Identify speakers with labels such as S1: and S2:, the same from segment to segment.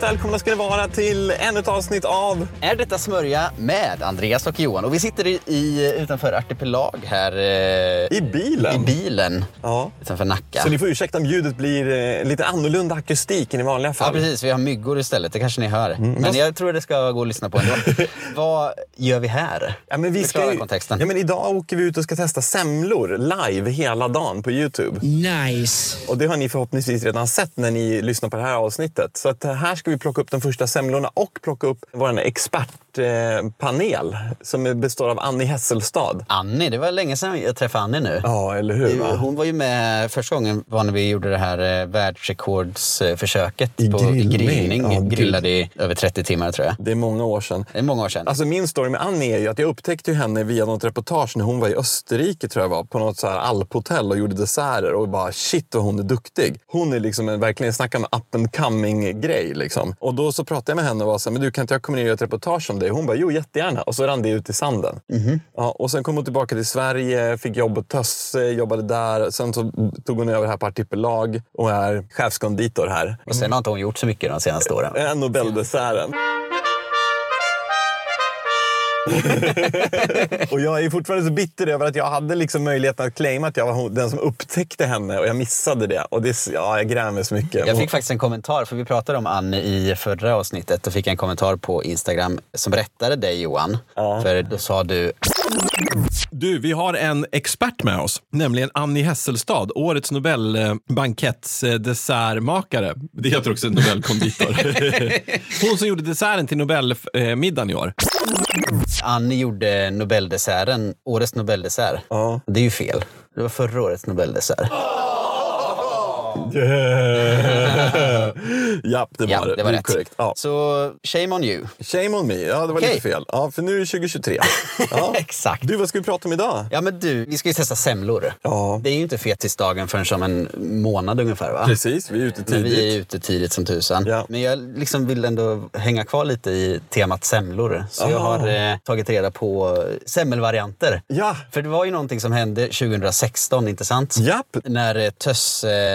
S1: välkomna ska ni vara till ännu ett avsnitt av...
S2: Är detta smörja med Andreas och Johan? Och vi sitter i, i, utanför Artipelag här eh,
S1: I bilen.
S2: i bilen
S1: Ja.
S2: utanför Nacka.
S1: Så ni får ursäkta om ljudet blir eh, lite annorlunda akustik än i vanliga
S2: Ja,
S1: fall.
S2: precis. Vi har myggor istället. Det kanske ni hör. Men
S1: vad-
S2: jag tror det ska gå att lyssna på ändå. Vad gör vi här?
S1: Ja, men vi ska
S2: Förklara
S1: ju...
S2: kontexten.
S1: ja, men idag åker vi ut och ska testa semlor live hela dagen på Youtube.
S3: Nice.
S1: Och det har ni förhoppningsvis redan sett när ni lyssnar på det här avsnittet. Så att eh, här ska vi plocka upp de första semlorna och plocka upp vår expertpanel som består av Annie Hesselstad.
S2: Annie, det var länge sedan jag träffade Annie nu.
S1: Ja, eller hur? Va?
S2: Hon var ju med första gången var när vi gjorde det här eh, världsrekordsförsöket
S1: I
S2: på
S1: grillning.
S2: grillning.
S1: Ja, gud.
S2: Grillade i över 30 timmar tror jag.
S1: Det är många år sedan.
S2: Det är många år sedan.
S1: Alltså min story med Annie är ju att jag upptäckte ju henne via något reportage när hon var i Österrike tror jag var, på något så här alphotell och gjorde desserter och bara shit vad hon är duktig. Hon är liksom en, verkligen, snacka om up and coming grej liksom. Och då så pratade jag med henne och var så här, men du kan inte jag komma ner och göra ett reportage om dig? Hon bara, jo jättegärna. Och så rann det ut i sanden. Ja, och sen kom hon tillbaka till Sverige, fick jobb på Tösse, jobbade där. Sen så tog hon över här på Artipelag och är chefskonditor här.
S2: Och sen har inte hon gjort så mycket de senaste åren.
S1: Eh, Nobeldesserten. och jag är fortfarande så bitter över att jag hade liksom möjligheten att claima att jag var hon- den som upptäckte henne och jag missade det. Och det, är- ja, jag grämer så mycket.
S2: Jag fick faktiskt en kommentar, för vi pratade om Annie i förra avsnittet. Då fick jag en kommentar på Instagram som rättade dig Johan. För då sa du,
S4: Du, vi har en expert med oss, nämligen Annie Hesselstad, årets Nobelbankettsdessertmakare. Det heter också Nobelkonditor. Hon som gjorde desserten till Nobelmiddagen i år.
S2: Annie gjorde Nobeldesserten, årets Nobeldessert.
S1: Ja.
S2: Det är ju fel. Det var förra årets Nobeldessert.
S1: Yeah. Japp, det var
S2: Ja, det var rätt.
S1: Korrekt. Ja.
S2: Så shame on you.
S1: Shame on me. Ja, det var
S2: Okej.
S1: lite fel. Ja, för nu är det 2023. Ja.
S2: Exakt.
S1: Du, vad ska vi prata om idag?
S2: Ja men du, vi ska ju testa semlor.
S1: Ja.
S2: Det är ju inte fetisdagen förrän om en månad ungefär va?
S1: Precis, vi är ute
S2: Men
S1: tidigt.
S2: vi är ute tidigt som tusan.
S1: Ja.
S2: Men jag liksom vill ändå hänga kvar lite i temat semlor. Så jag
S1: Ah.
S2: har eh, tagit reda på eh, semmelvarianter.
S1: Ja.
S2: För det var ju någonting som hände 2016, inte sant?
S1: Japp,
S2: När eh,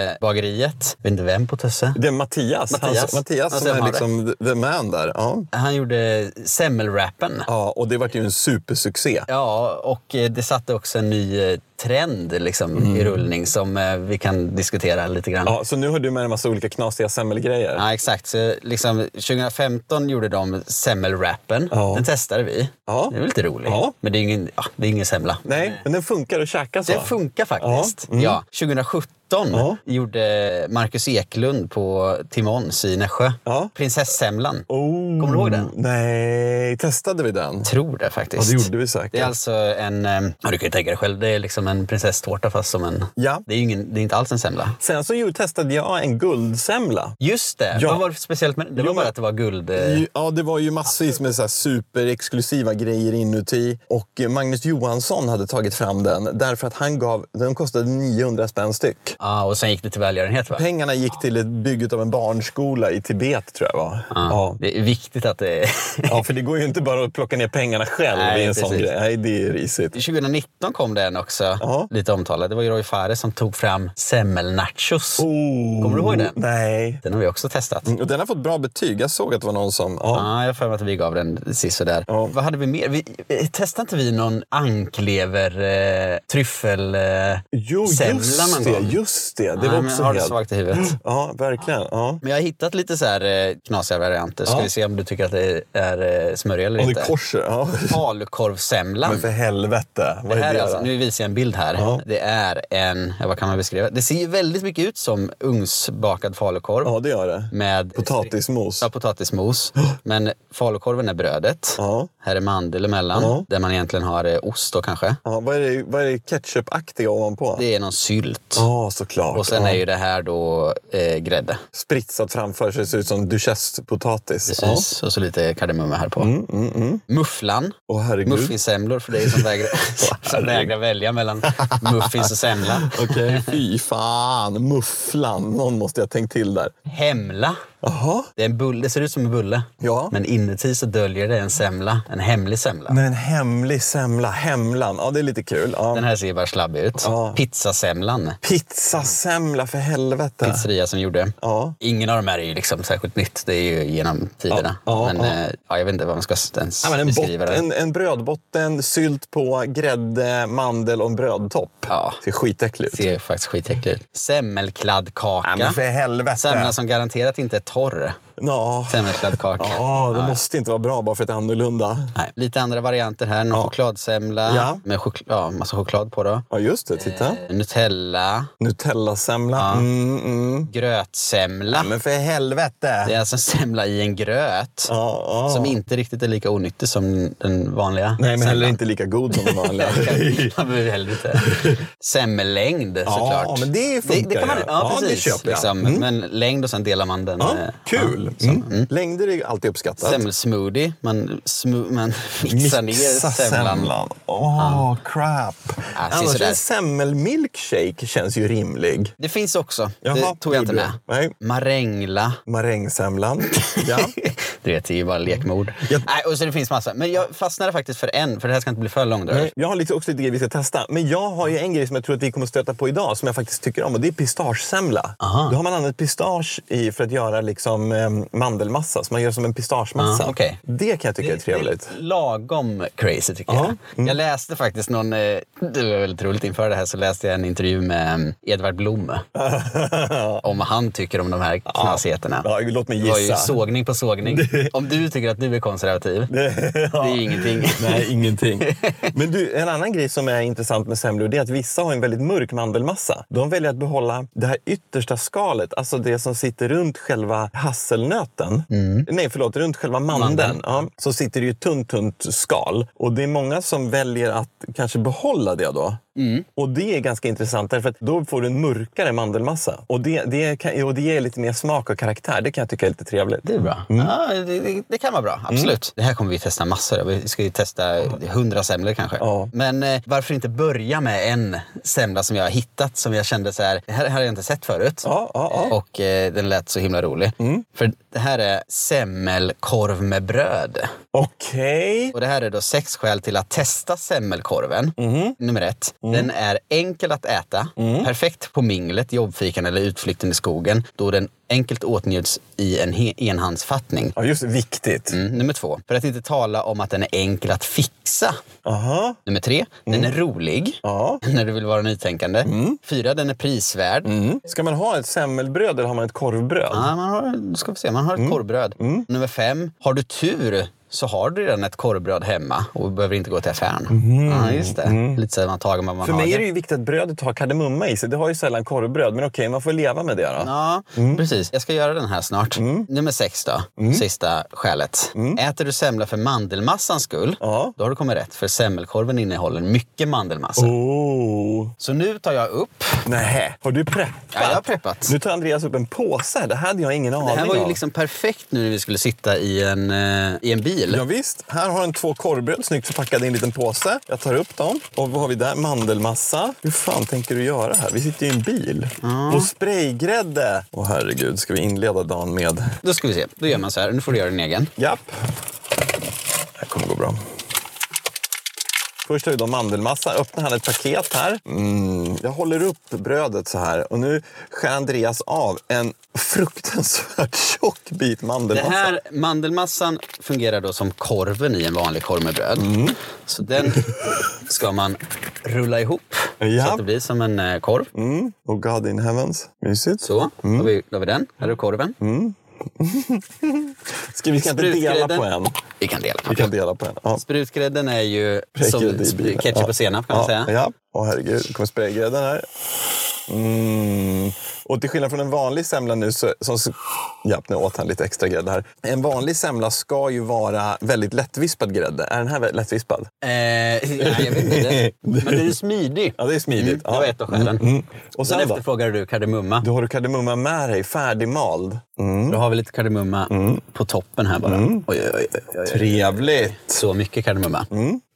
S2: Tössebageriet, vet inte vem på Tösse,
S1: det är Mattias.
S2: Mattias.
S1: Han, Mattias
S2: Han
S1: som
S2: som
S1: är
S2: har
S1: liksom the man där. Ja.
S2: han gjorde semmelwrappen.
S1: Ja, och det vart ju en supersuccé.
S2: Ja, och eh, det satte också en ny eh, trend liksom, i rullning som eh, vi kan diskutera lite grann.
S1: Mm. Ja, så nu har du med en massa olika knasiga semmelgrejer.
S2: Ja, exakt. Så, liksom, 2015 gjorde de semmelwrappen.
S1: Ja.
S2: Den testade vi.
S1: Ja.
S2: Det var lite roligt.
S1: Ja.
S2: Men det är ingen, ja, det är ingen semla.
S1: Nej, men den funkar att käka så.
S2: Det funkar faktiskt.
S1: Ja.
S2: Ja.
S1: Mm.
S2: 2017
S1: Ja.
S2: gjorde Marcus Eklund på Timons i Nässjö
S1: Ja.
S2: prinsessemlan.
S1: Oh,
S2: Kommer du ihåg den?
S1: Nej, testade vi den?
S2: Tror det
S1: Ja,
S2: faktiskt.
S1: det gjorde vi säkert.
S2: Det är alltså en, eh, ja, du kan ju tänka dig själv, det är liksom en prinsesstårta fast som en...
S1: Ja.
S2: Det är ju ingen, det är inte alls en semla.
S1: Sen så gjorde- testade jag en guldsemla.
S2: Just det!
S1: Ja.
S2: Vad var det för speciellt med Det var
S1: Jo, men-
S2: bara att det var guld... eh,
S1: Ja, det var ju massvis med så här superexklusiva grejer inuti. Och eh, Magnus Johansson hade tagit fram den därför att han gav... Den kostade 900 spänn styck.
S2: Ja, och sen gick det till välgörenhet va?
S1: Pengarna gick till ett bygget av en barnskola i Tibet, tror jag va?
S2: Ja.
S1: Ja.
S2: Det är viktigt att det...
S1: Ja, för det går ju inte bara att plocka ner pengarna själv
S2: Nej,
S1: i en sån
S2: precis.
S1: grej. Nej, det är risigt.
S2: 2019 kom den också,
S1: Ja.
S2: lite omtalad. Det var ju Roy Fares som tog fram semmelnachos.
S1: Oh.
S2: Kommer du ihåg den?
S1: Mm, Nej.
S2: Den har vi också testat.
S1: Och den har fått bra betyg. Jag såg att det var någon som... Ja.
S2: Ja, jag har för mig att vi gav den sist och där.
S1: Ja.
S2: Vad hade vi mer? Vi, eh, testade inte vi någon anklever eh, tryffel... Eh,
S1: Jo,
S2: semla
S1: just
S2: någon
S1: det.
S2: gång?
S1: Just det. Det
S2: Nej,
S1: var
S2: Ah, men
S1: också
S2: jag har det
S1: helt... Mm.
S2: svagt i huvudet.
S1: Ja, verkligen. Ja.
S2: Men jag har hittat lite så här eh, knasiga varianter. Ska
S1: Ja.
S2: vi se om du tycker att det är eh, smörja eller
S1: Om det
S2: inte?
S1: är korser. Ja.
S2: Falukorvssemlan.
S1: Men för helvete. Vad
S2: Det
S1: är
S2: här
S1: det?
S2: är alltså,
S1: då?
S2: nu visar jag en bild här.
S1: Ja.
S2: Det är en, ja, vad kan man beskriva? Det ser ju väldigt mycket ut som ugnsbakad falukorv
S1: Ja, det gör det.
S2: med
S1: Potatismos.
S2: Mm, Ja, potatismos. Men falukorven är brödet.
S1: Ja.
S2: Här är mandel emellan,
S1: Ja.
S2: där man egentligen har eh, ost då kanske.
S1: Ja, vad är det, vad är det ketchupaktiga ovanpå?
S2: Det är någon sylt.
S1: Ja, såklart.
S2: Och sen
S1: ja.
S2: är ju det här då eh, grädde.
S1: Spritsat framför sig, ser ut som duchesspotatis. Ja. Mm,
S2: Precis. Och så lite kardemumma här på. Mufflan.
S1: Åh, herregud.
S2: Muffinsemlor för dig som vägrar, som vägrar välja mellan muffins och semla.
S1: Okej, fy fan. Mufflan. Någon måste jag ha tänkt till där.
S2: Hemla.
S1: Jaha?
S2: Det, är en bulle, det ser ut som en bulle.
S1: Ja.
S2: Men inuti så döljer det en semla. En hemlig semla.
S1: Men en hemlig semla. Hemlan. Ja, det är lite kul. Ja.
S2: Den här ser bara slabbig ut.
S1: Ja.
S2: Pizzasemlan.
S1: Pizzasemla, för helvete.
S2: Pizzeria som gjorde.
S1: Ja.
S2: Ingen av de här är ju liksom särskilt nytt. Det är ju genom tiderna.
S1: Ja, ja,
S2: men
S1: ja.
S2: eh, ja, jag vet inte vad man ska s- ens
S1: Ja, men en,
S2: beskriva
S1: bott,
S2: det.
S1: en, en brödbotten, sylt på, grädde, mandel och en brödtopp.
S2: Ja.
S1: Ser skitäckligt ut.
S2: ser faktiskt skitäckligt ut. Semmelkladdkaka.
S1: Ja, men för helvete.
S2: Semla som garanterat inte är torr.
S1: Ja.
S2: Semmelkladdkaka.
S1: Ja, det måste inte vara bra bara för att det är annorlunda.
S2: Nej. Lite andra varianter här. Någon chokladsemla
S1: Ja.
S2: med chok- ja, massa choklad på. Då. Eh,
S1: Ja, just det. Titta.
S2: Nutella.
S1: Nutellasemla. Mm, mm.
S2: Grötsemla.
S1: Men för helvete!
S2: Det är alltså en semla i en gröt.
S1: Ja, ja.
S2: Som inte riktigt är lika onyttig som den vanliga.
S1: Ah. Nej, men
S2: semlan.
S1: heller inte lika god som de vanliga.
S2: Ja, men helvete. Semmellängd såklart.
S1: men det funkar
S2: det kan man,
S1: ju.
S2: ja,
S1: Ja, det
S2: precis.
S1: köper jag. Mm.
S2: liksom. Men längd och sen delar man den.
S1: Ja,
S2: eh,
S1: kul! Mm. Längder är alltid uppskattat.
S2: Semmelsmoothie. Man, smu- man mixar ner
S1: Mixa
S2: semlan.
S1: semlan. Åh, crap! Annars
S2: sådär.
S1: en semmelmilkshake känns ju rimlig.
S2: Det finns också.
S1: Jaha,
S2: det tog jag inte
S1: gjorde
S2: med.
S1: du? Nej.
S2: Marängla.
S1: Marängsemlan. Ja.
S2: Du vet, det är ju bara lek med ord. Nej, och så det finns massa. Men jag fastnade faktiskt för en, för det här ska inte bli för långdraget.
S1: Jag har lite, också lite grejer vi ska testa. Men jag har ju en grej som jag tror att vi kommer stöta på idag som jag faktiskt tycker om och det är pistagesemla. Då har man använt pistage i för att göra liksom, eh, mandelmassa. Så man gör som en pistagemassa.
S2: Ah, okej.
S1: Det kan jag tycka är trevligt. Mm.
S2: Lagom crazy tycker jag. Jag läste faktiskt någon, eh, det var väldigt roligt inför det här, så läste jag en intervju med eh, Edvard Blom. om vad han tycker om de här knasigheterna.
S1: Ja, låt mig
S2: Det var ju
S1: gissa.
S2: sågning på sågning. Om du tycker att du är konservativ, det är ju ingenting.
S1: Nej, ingenting. Men du, en annan grej som är intressant med semlor det är att vissa har en väldigt mörk mandelmassa. De väljer att behålla det här yttersta skalet, alltså det som sitter runt själva hasselnöten. Nej, förlåt, runt själva mandeln. Ja, så sitter det ju ett tunt, tunt skal. Och det är många som väljer att kanske behålla det då. Och det är ganska intressant, därför att då får du en mörkare mandelmassa. Och det, det, kan, och det ger lite mer smak och karaktär. Det kan jag tycka är lite trevligt.
S2: Det är bra.
S1: Mm.
S2: Ja, det, det, det kan vara bra, absolut. Det här kommer vi testa massor av. Vi ska ju testa hundra semlor kanske.
S1: Ja.
S2: Men eh, varför inte börja med en semla som jag har hittat som jag kände så här, det här har jag inte sett förut.
S1: Ja, ja, ja.
S2: Och eh, den lät så himla rolig. För det här är semmelkorv med bröd.
S1: Okej.
S2: Och det här är då sex skäl till att testa semmelkorven. Nummer ett, den är enkel att äta, perfekt på minglet, jobbfikan eller utflykten i skogen då den enkelt åtnjuts i en he- enhandsfattning.
S1: Ja, just det. Viktigt.
S2: Mm, nummer två, för att inte tala om att den är enkel att fixa.
S1: Aha.
S2: Nummer tre, den är rolig
S1: Ja.
S2: när du vill vara nytänkande. Fyra, den är prisvärd.
S1: Mm. Ska man ha ett semmelbröd eller har man ett korvbröd?
S2: Ja, man har, nu ska vi se, man har ett
S1: Mm.
S2: korvbröd. Nummer fem, har du tur så har du redan ett korvbröd hemma och behöver inte gå till affären. Ja, just det. Lite så här, man tager vad man
S1: Mm. För
S2: har.
S1: mig är det ju viktigt att brödet har kardemumma i sig. Det har ju sällan korvbröd, men okej, man får leva med det Mm. då.
S2: Ja, precis. Jag ska göra den här snart. Nummer sex då,
S1: Mm.
S2: sista skälet. Äter du semla för mandelmassans skull,
S1: Ja.
S2: då har du kommit rätt. För semmelkorven innehåller mycket mandelmassa.
S1: Oh.
S2: Så nu tar jag upp...
S1: Nej, har du preppat?
S2: Ja, jag har preppat.
S1: Nu tar Andreas upp en påse. Det här hade jag ingen
S2: Det
S1: aning
S2: här var ju
S1: om.
S2: liksom perfekt nu när vi skulle sitta i en, eh, i en bil.
S1: Ja, visst. Här har en två korvbröd snyggt förpackade i en liten påse. Jag tar upp dem. Och vad har vi där? Mandelmassa. Hur fan tänker du göra här? Vi sitter ju i en bil. Och spraygrädde! Åh herregud, ska vi inleda dagen med...
S2: Då ska vi se. Då gör man så här. Nu får du göra din egen.
S1: Japp. Det här kommer gå bra. Först har vi då mandelmassa. Öppnar han ett paket här. Mm, jag håller upp brödet så här och nu skär Andreas av en fruktansvärt tjock bit
S2: Det
S1: mandelmassa.
S2: här, mandelmassan fungerar då som korven i en vanlig korv med bröd.
S1: Mm.
S2: Så den ska man rulla ihop
S1: Ja.
S2: så att det blir som en eh, korv.
S1: Mm. Oh God in heavens. Mysigt.
S2: Så, då har vi, då har vi den. Här är korven.
S1: Mm. Ska vi ska inte dela
S2: Sprutgrädde.
S1: på en?
S2: Vi kan dela.
S1: Vi kan dela på en. Ja.
S2: Sprutgrädden är ju som
S1: Spräggrädde i
S2: sp-
S1: bilen.
S2: ketchup
S1: Ja.
S2: och senap kan man
S1: ja.
S2: säga.
S1: Ja. Åh herregud, nu kommer spraygrädden här. Mm. Och till skillnad från en vanlig semla nu så... Som, ja, nu åt han lite extra grädde här. En vanlig semla ska ju vara väldigt lättvispad grädde. Är den här väldigt lättvispad?
S2: Eh, nej, jag vet inte. Men den är smidig.
S1: Ja, det är smidigt.
S2: Mm, det var
S1: ja.
S2: ett av skälen.
S1: Mm, mm. Och
S2: Sen
S1: sen då?
S2: efterfrågade du kardemumma.
S1: Då har du kardemumma med dig, färdigmald.
S2: Då har vi lite kardemumma
S1: Mm.
S2: på toppen här bara. Oj, oj, oj, oj, oj.
S1: Trevligt!
S2: Så mycket kardemumma.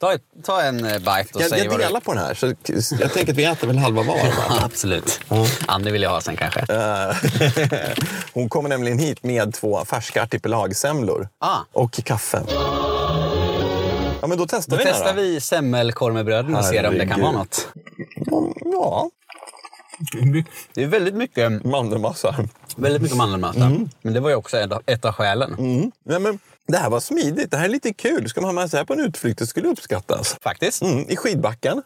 S2: Ta, ett- ta en eh, bite och
S1: Mm. Jag,
S2: säg
S1: jag
S2: vad du...
S1: delar på den här. Så jag tänker att vi äter väl halva var. va?
S2: Ja, absolut.
S1: Mm.
S2: Andy vill jag ha sen kanske.
S1: Eh, Hon kommer nämligen hit med två färska artipelagsemlor.
S2: Ah.
S1: Och kaffe. Ja, men då testar vi
S2: Testar
S1: den här.
S2: vi semmelkorv med bröd och ser om det kan
S1: Herregud.
S2: vara något.
S1: då. Ja,
S2: Det är väldigt mycket,
S1: mandelmassa.
S2: väldigt mycket mandelmassa. Men det var ju också ett av, ett av skälen.
S1: Mm. Nej, men det här var smidigt. Det här är lite kul. Ska man ha med sig här på en utflykt? Det skulle uppskattas.
S2: Faktiskt.
S1: Mm, I skidbacken.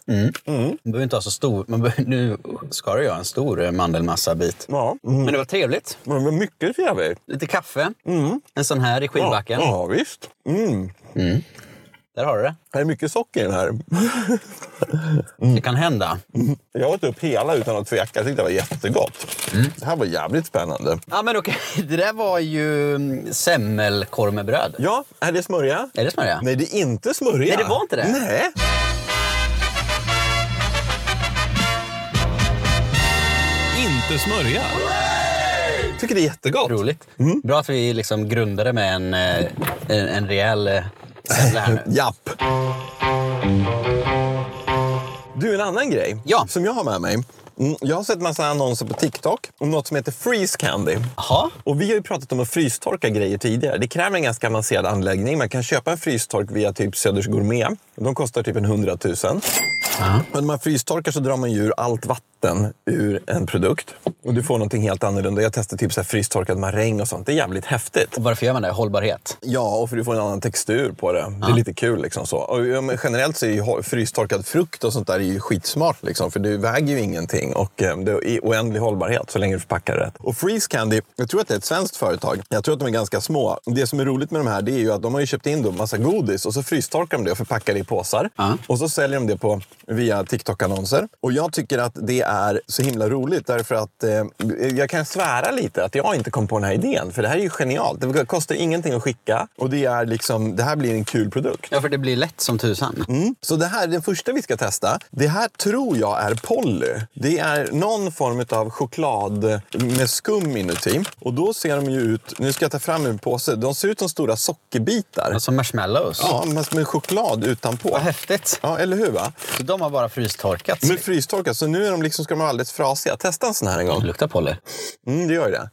S2: Man behöver inte ha så stor. Man behöver, nu ska du göra en stor eh, mandelmassabit.
S1: Ja, mm.
S2: Men det var trevligt.
S1: men det var mycket trevligt.
S2: Lite kaffe. En sån här
S1: Mm.
S2: i
S1: Ja,
S2: skidbacken.
S1: ja, visst. Mm.
S2: Där har du det.
S1: Det är mycket socker i den här. Mm.
S2: Det kan hända.
S1: Jag åt upp hela utan att tveka. Jag tyckte det var jättegott.
S2: Mm.
S1: Det här var jävligt spännande.
S2: Ja, men okej. Det där var ju mm, semmelkorv med bröd.
S1: Ja, är det smörja?
S2: Är det smörja?
S1: Nej, det är inte smörja.
S2: Nej, det var inte det.
S1: Nej.
S4: Inte smörja.
S1: Jag tycker det är jättegott.
S2: Roligt.
S1: Mm.
S2: Bra att vi liksom grundade med en, eh, en, en rejäl eh, semla här nu.
S1: Japp. Du, en annan grej
S2: Ja.
S1: som jag har med mig. Mm, Jag har sett massa annonser på TikTok om något som heter freeze candy.
S2: Jaha.
S1: Och vi har ju pratat om att frystorka grejer tidigare. Det kräver en ganska avancerad anläggning. Man kan köpa en frystork via typ Söders Gourmet. De kostar typ en 100 000. Men när man frystorkar så drar man ju ur allt vatten ur en produkt. Och du får någonting helt annorlunda. Jag testade typ så här frystorkad maräng och sånt. Det är jävligt häftigt.
S2: Och varför gör man det? Hållbarhet.
S1: Ja, och för du får en annan textur på det. Det är lite kul. liksom så. Och, ja, men generellt så är ju ho- frystorkad frukt och sånt där är ju skitsmart. Liksom, för det väger ju ingenting och eh, det är oändlig hållbarhet så länge du förpackar det rätt. Och Freeze Candy, jag tror att det är ett svenskt företag. Jag tror att de är ganska små. Det som är roligt med de här det är ju att de har ju köpt in då massa godis och så frystorkar de det och förpackar det i påsar.
S2: Ja.
S1: Och så säljer de det på, via TikTok-annonser. Och jag tycker att det är så himla roligt därför att eh, jag kan svära lite att jag inte kom på den här idén. För det här är ju genialt. Det kostar ingenting att skicka och det, är liksom, det här blir en kul produkt.
S2: Ja, för det blir lätt som tusan.
S1: Mm. Så det här, den första vi ska testa, det här tror jag är Polly. Det är någon form av choklad med skum inuti. Och då ser de ju ut, nu ska jag ta fram en påse, de ser ut som stora sockerbitar.
S2: Alltså marshmallows.
S1: Ja, men med choklad utanpå.
S2: Vad häftigt.
S1: Ja, eller hur? va?
S2: Så de har bara frystorkats.
S1: Men frystorkat, så nu är de liksom, ska de vara alldeles frasiga. Testa en sån här en
S2: Det
S1: gång.
S2: luktar på det.
S1: Mm, det gör ju det.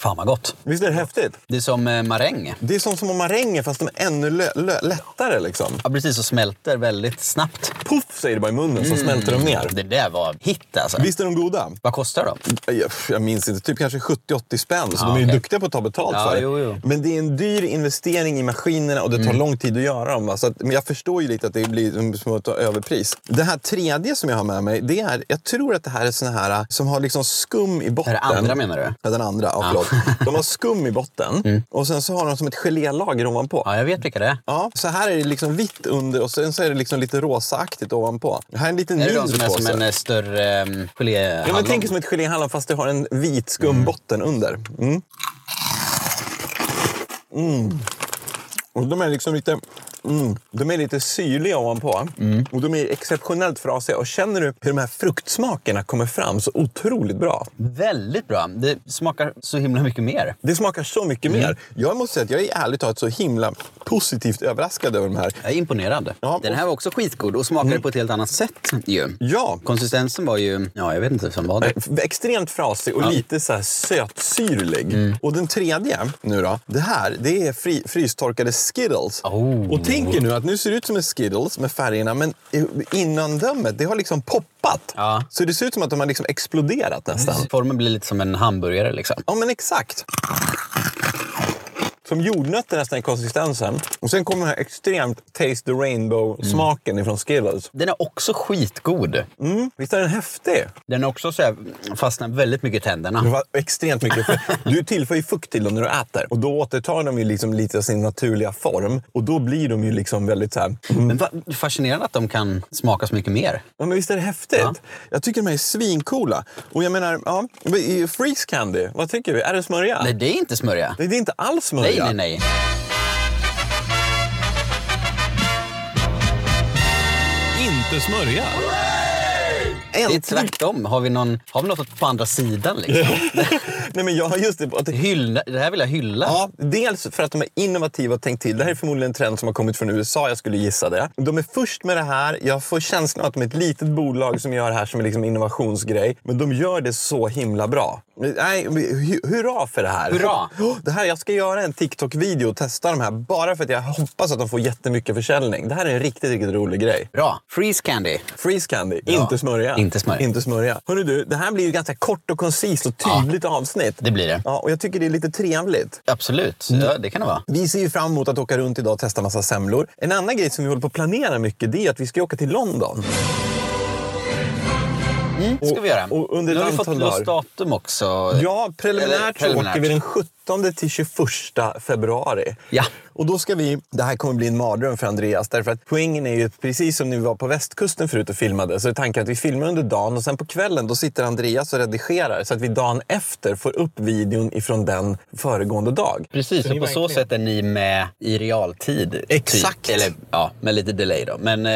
S2: Fan vad gott.
S1: Visst är det häftigt?
S2: Det är som eh, maräng.
S1: Det är som små maränger fast de är ännu lö- lö- lättare. Liksom.
S2: Ja, precis. Och smälter väldigt snabbt.
S1: Puff säger det bara i munnen
S2: Mm.
S1: så smälter de ner.
S2: Det där var hit alltså.
S1: Visst är de goda?
S2: Vad kostar de?
S1: Jag- Jag minns inte, typ kanske 70-80 spänn. Så
S2: Ja,
S1: de är ju
S2: okej.
S1: duktiga på att ta betalt
S2: Ja,
S1: för det.
S2: jo, jo. Mm.
S1: Men det är en dyr investering i maskinerna och det tar lång tid att göra dem. va. Så att, men jag förstår ju lite att det blir mm, som att ta överpris. Det här tredje som jag har med mig, det är, jag tror att det här är såna här äh, som har liksom skum i botten.
S2: Är det andra menar du? Mm.
S1: Ja, den andra. Ja, förlåt. De har skum i botten och sen så har de som ett gelélager ovanpå.
S2: Ja, jag vet vilka det är.
S1: Ja, så här är det liksom vitt under och sen så är det liksom lite rosaaktigt ovanpå. Här är en liten
S2: Är det
S1: mindre
S2: de som är som
S1: påse.
S2: en eh, större um,
S1: Ja, men tänk
S2: geléhallon?
S1: er som ett geléhallon fast det har en vit skumbotten under. Mm. Mm. Och de är liksom lite... Mm, de är lite syrliga ovanpå och de är exceptionellt frasiga. Och känner du hur de här fruktsmakerna kommer fram så otroligt bra?
S2: Väldigt bra. Det smakar så himla mycket mer.
S1: Det smakar så mycket mer. Jag måste säga att jag är ärligt talat så himla positivt överraskad över de här.
S2: Jag är imponerad.
S1: Ja, Mm.
S2: Den här var också skitgod och smakade på ett helt annat sätt ju.
S1: Ja,
S2: Konsistensen var ju, ja jag vet inte som var det.
S1: F- extremt frasig och lite så här sötsyrlig.
S2: Mm.
S1: Och den tredje nu då, det här, det är fri, frystorkade Skittles.
S2: Oh.
S1: Och tänk er nu att nu ser det ut som en Skittles med färgerna, men i- innandömet, det har liksom poppat.
S2: Ja.
S1: Så det ser ut som att de har liksom exploderat nästan.
S2: Formen blir lite som en hamburgare liksom.
S1: Ja, men exakt. Som jordnötter nästan i konsistensen. Och sen kommer den här extremt Taste the Rainbow-smaken
S2: Mm.
S1: ifrån Skittles.
S2: Den är också skitgod.
S1: Mm, visst är den häftig?
S2: Den är också så här, fastnar väldigt mycket i
S1: Det
S2: tänderna.
S1: var extremt mycket fukt. Du tillför ju fukt till dem när du äter och då återtar de ju liksom lite sin naturliga form och då blir de ju liksom väldigt så här... Mm.
S2: Men va, fascinerande att de kan smaka så mycket mer.
S1: Ja, men visst är det häftigt? Jag tycker de här är svincoola. Och jag menar, ja, men i freeze candy, vad tycker vi? Är det smörja?
S2: Nej, det är inte smörja.
S1: Nej, det är inte alls smörja.
S2: Nej, nej, nej.
S4: Inte smörja.
S2: Det är
S1: Äntligen!
S2: tvärtom. Har vi, någon, har vi något på andra sidan? Liksom?
S1: Nej, men jag har just det. Att det
S2: Hylla, det här vill jag hylla.
S1: Ja, dels för att de är innovativa och tänkt till. Det här är förmodligen en trend som har kommit från USA, jag skulle gissa det. De är först med det här. Jag får känslan av att de är ett litet bolag som gör det här som en liksom innovationsgrej. Men de gör det så himla bra. Nej, hu- hurra för det här!
S2: Hurra!
S1: Oh, Det här, jag ska göra en TikTok-video och testa de här bara för att jag hoppas att de får jättemycket försäljning. Det här är en riktigt, riktigt rolig grej.
S2: Bra. Freeze candy.
S1: Freeze candy,
S2: Ja.
S1: inte smörja.
S2: Inte smörja.
S1: Inte smörja. Hörru du, det här blir ju ganska kort och koncist och tydligt avsnitt.
S2: Det blir det.
S1: Ja, och jag tycker det är lite trevligt.
S2: Absolut.
S1: Mm.
S2: Ja, det kan det vara.
S1: Vi ser ju fram emot att åka runt idag och testa massa semlor. En annan grej som vi håller på att planera mycket det är att vi ska ju åka till London.
S2: Det Mm. ska vi göra.
S1: Och- och under
S2: nu har
S1: ett
S2: vi fått
S1: antal
S2: lost
S1: dagar.
S2: datum också.
S1: Ja,
S2: Eller
S1: preliminärt, så
S2: preliminärt.
S1: åker vi den 17 till 21 februari.
S2: Ja.
S1: Och då ska vi, det här kommer bli en mardröm för Andreas därför att poängen är ju att precis som när vi var på västkusten förut och filmade så är tanken att vi filmar under dagen och sen på kvällen då sitter Andreas och redigerar så att vi dagen efter får upp videon ifrån den föregående dag.
S2: Precis, och på så sätt är ni med i realtid.
S1: Exakt.
S2: Typ. Eller ja, med lite delay då. Men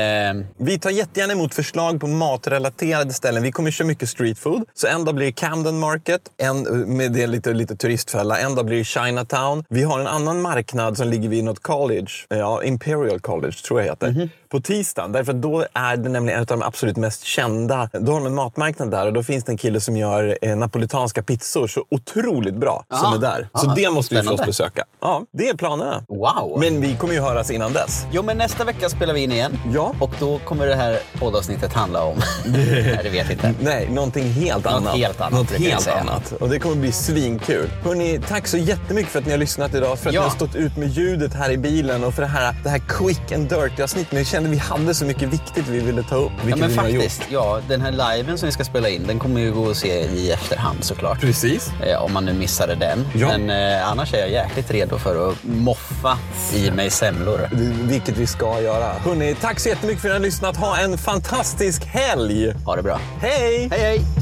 S2: eh,
S1: Vi tar jättegärna emot förslag på matrelaterade ställen. Vi kommer köra mycket street food. Så en dag blir det Camden Market, en, eh, med det lite, lite turistfälla. En dag blir det Chinatown. Vi har en annan marknad som ligger vid något college, Eh, ja, Imperial College tror jag heter,
S2: Mhm.
S1: på tisdagen. Därför att då är det nämligen en av de absolut mest kända. Då har de en matmarknad där och då finns det en kille som gör eh, napolitanska pizzor så otroligt bra som
S2: Ah.
S1: är där. Så
S2: Ah,
S1: det måste vi få
S2: spännande.
S1: oss besöka. Ja, det är planerna.
S2: wow.
S1: Men vi kommer ju höras innan dess.
S2: Jo, men nästa vecka spelar vi in igen.
S1: Ja.
S2: Och då kommer det här poddavsnittet handla om... Nej, det vet jag inte.
S1: Nej, någonting helt annat.
S2: helt annat,
S1: Något
S2: brukar jag
S1: helt
S2: säga.
S1: annat. Och det kommer bli svinkul. Hörrni, tack så jättemycket för att ni har lyssnat idag. För att
S2: Ja.
S1: ni har stått ut med ljudet här i bilen och för det här, det här quick and dirty-avsnittet. Men jag kände att vi hade så mycket viktigt vi ville ta upp.
S2: Ja,
S1: Vilket
S2: men
S1: vi nu har gjort.
S2: faktiskt. Ja, den här liven som vi ska spela in, den kommer ju gå att se i efterhand såklart.
S1: Precis.
S2: Eh, om man nu missade den.
S1: Ja.
S2: Men eh, annars är jag jäkligt redo för att moffa i mig semlor.
S1: Det- Vilket vi ska göra. Hörrni, tack så jättemycket för att ni har lyssnat. Ha en fantastisk helg!
S2: Ha det bra.
S1: Hej!
S2: Hej, hej!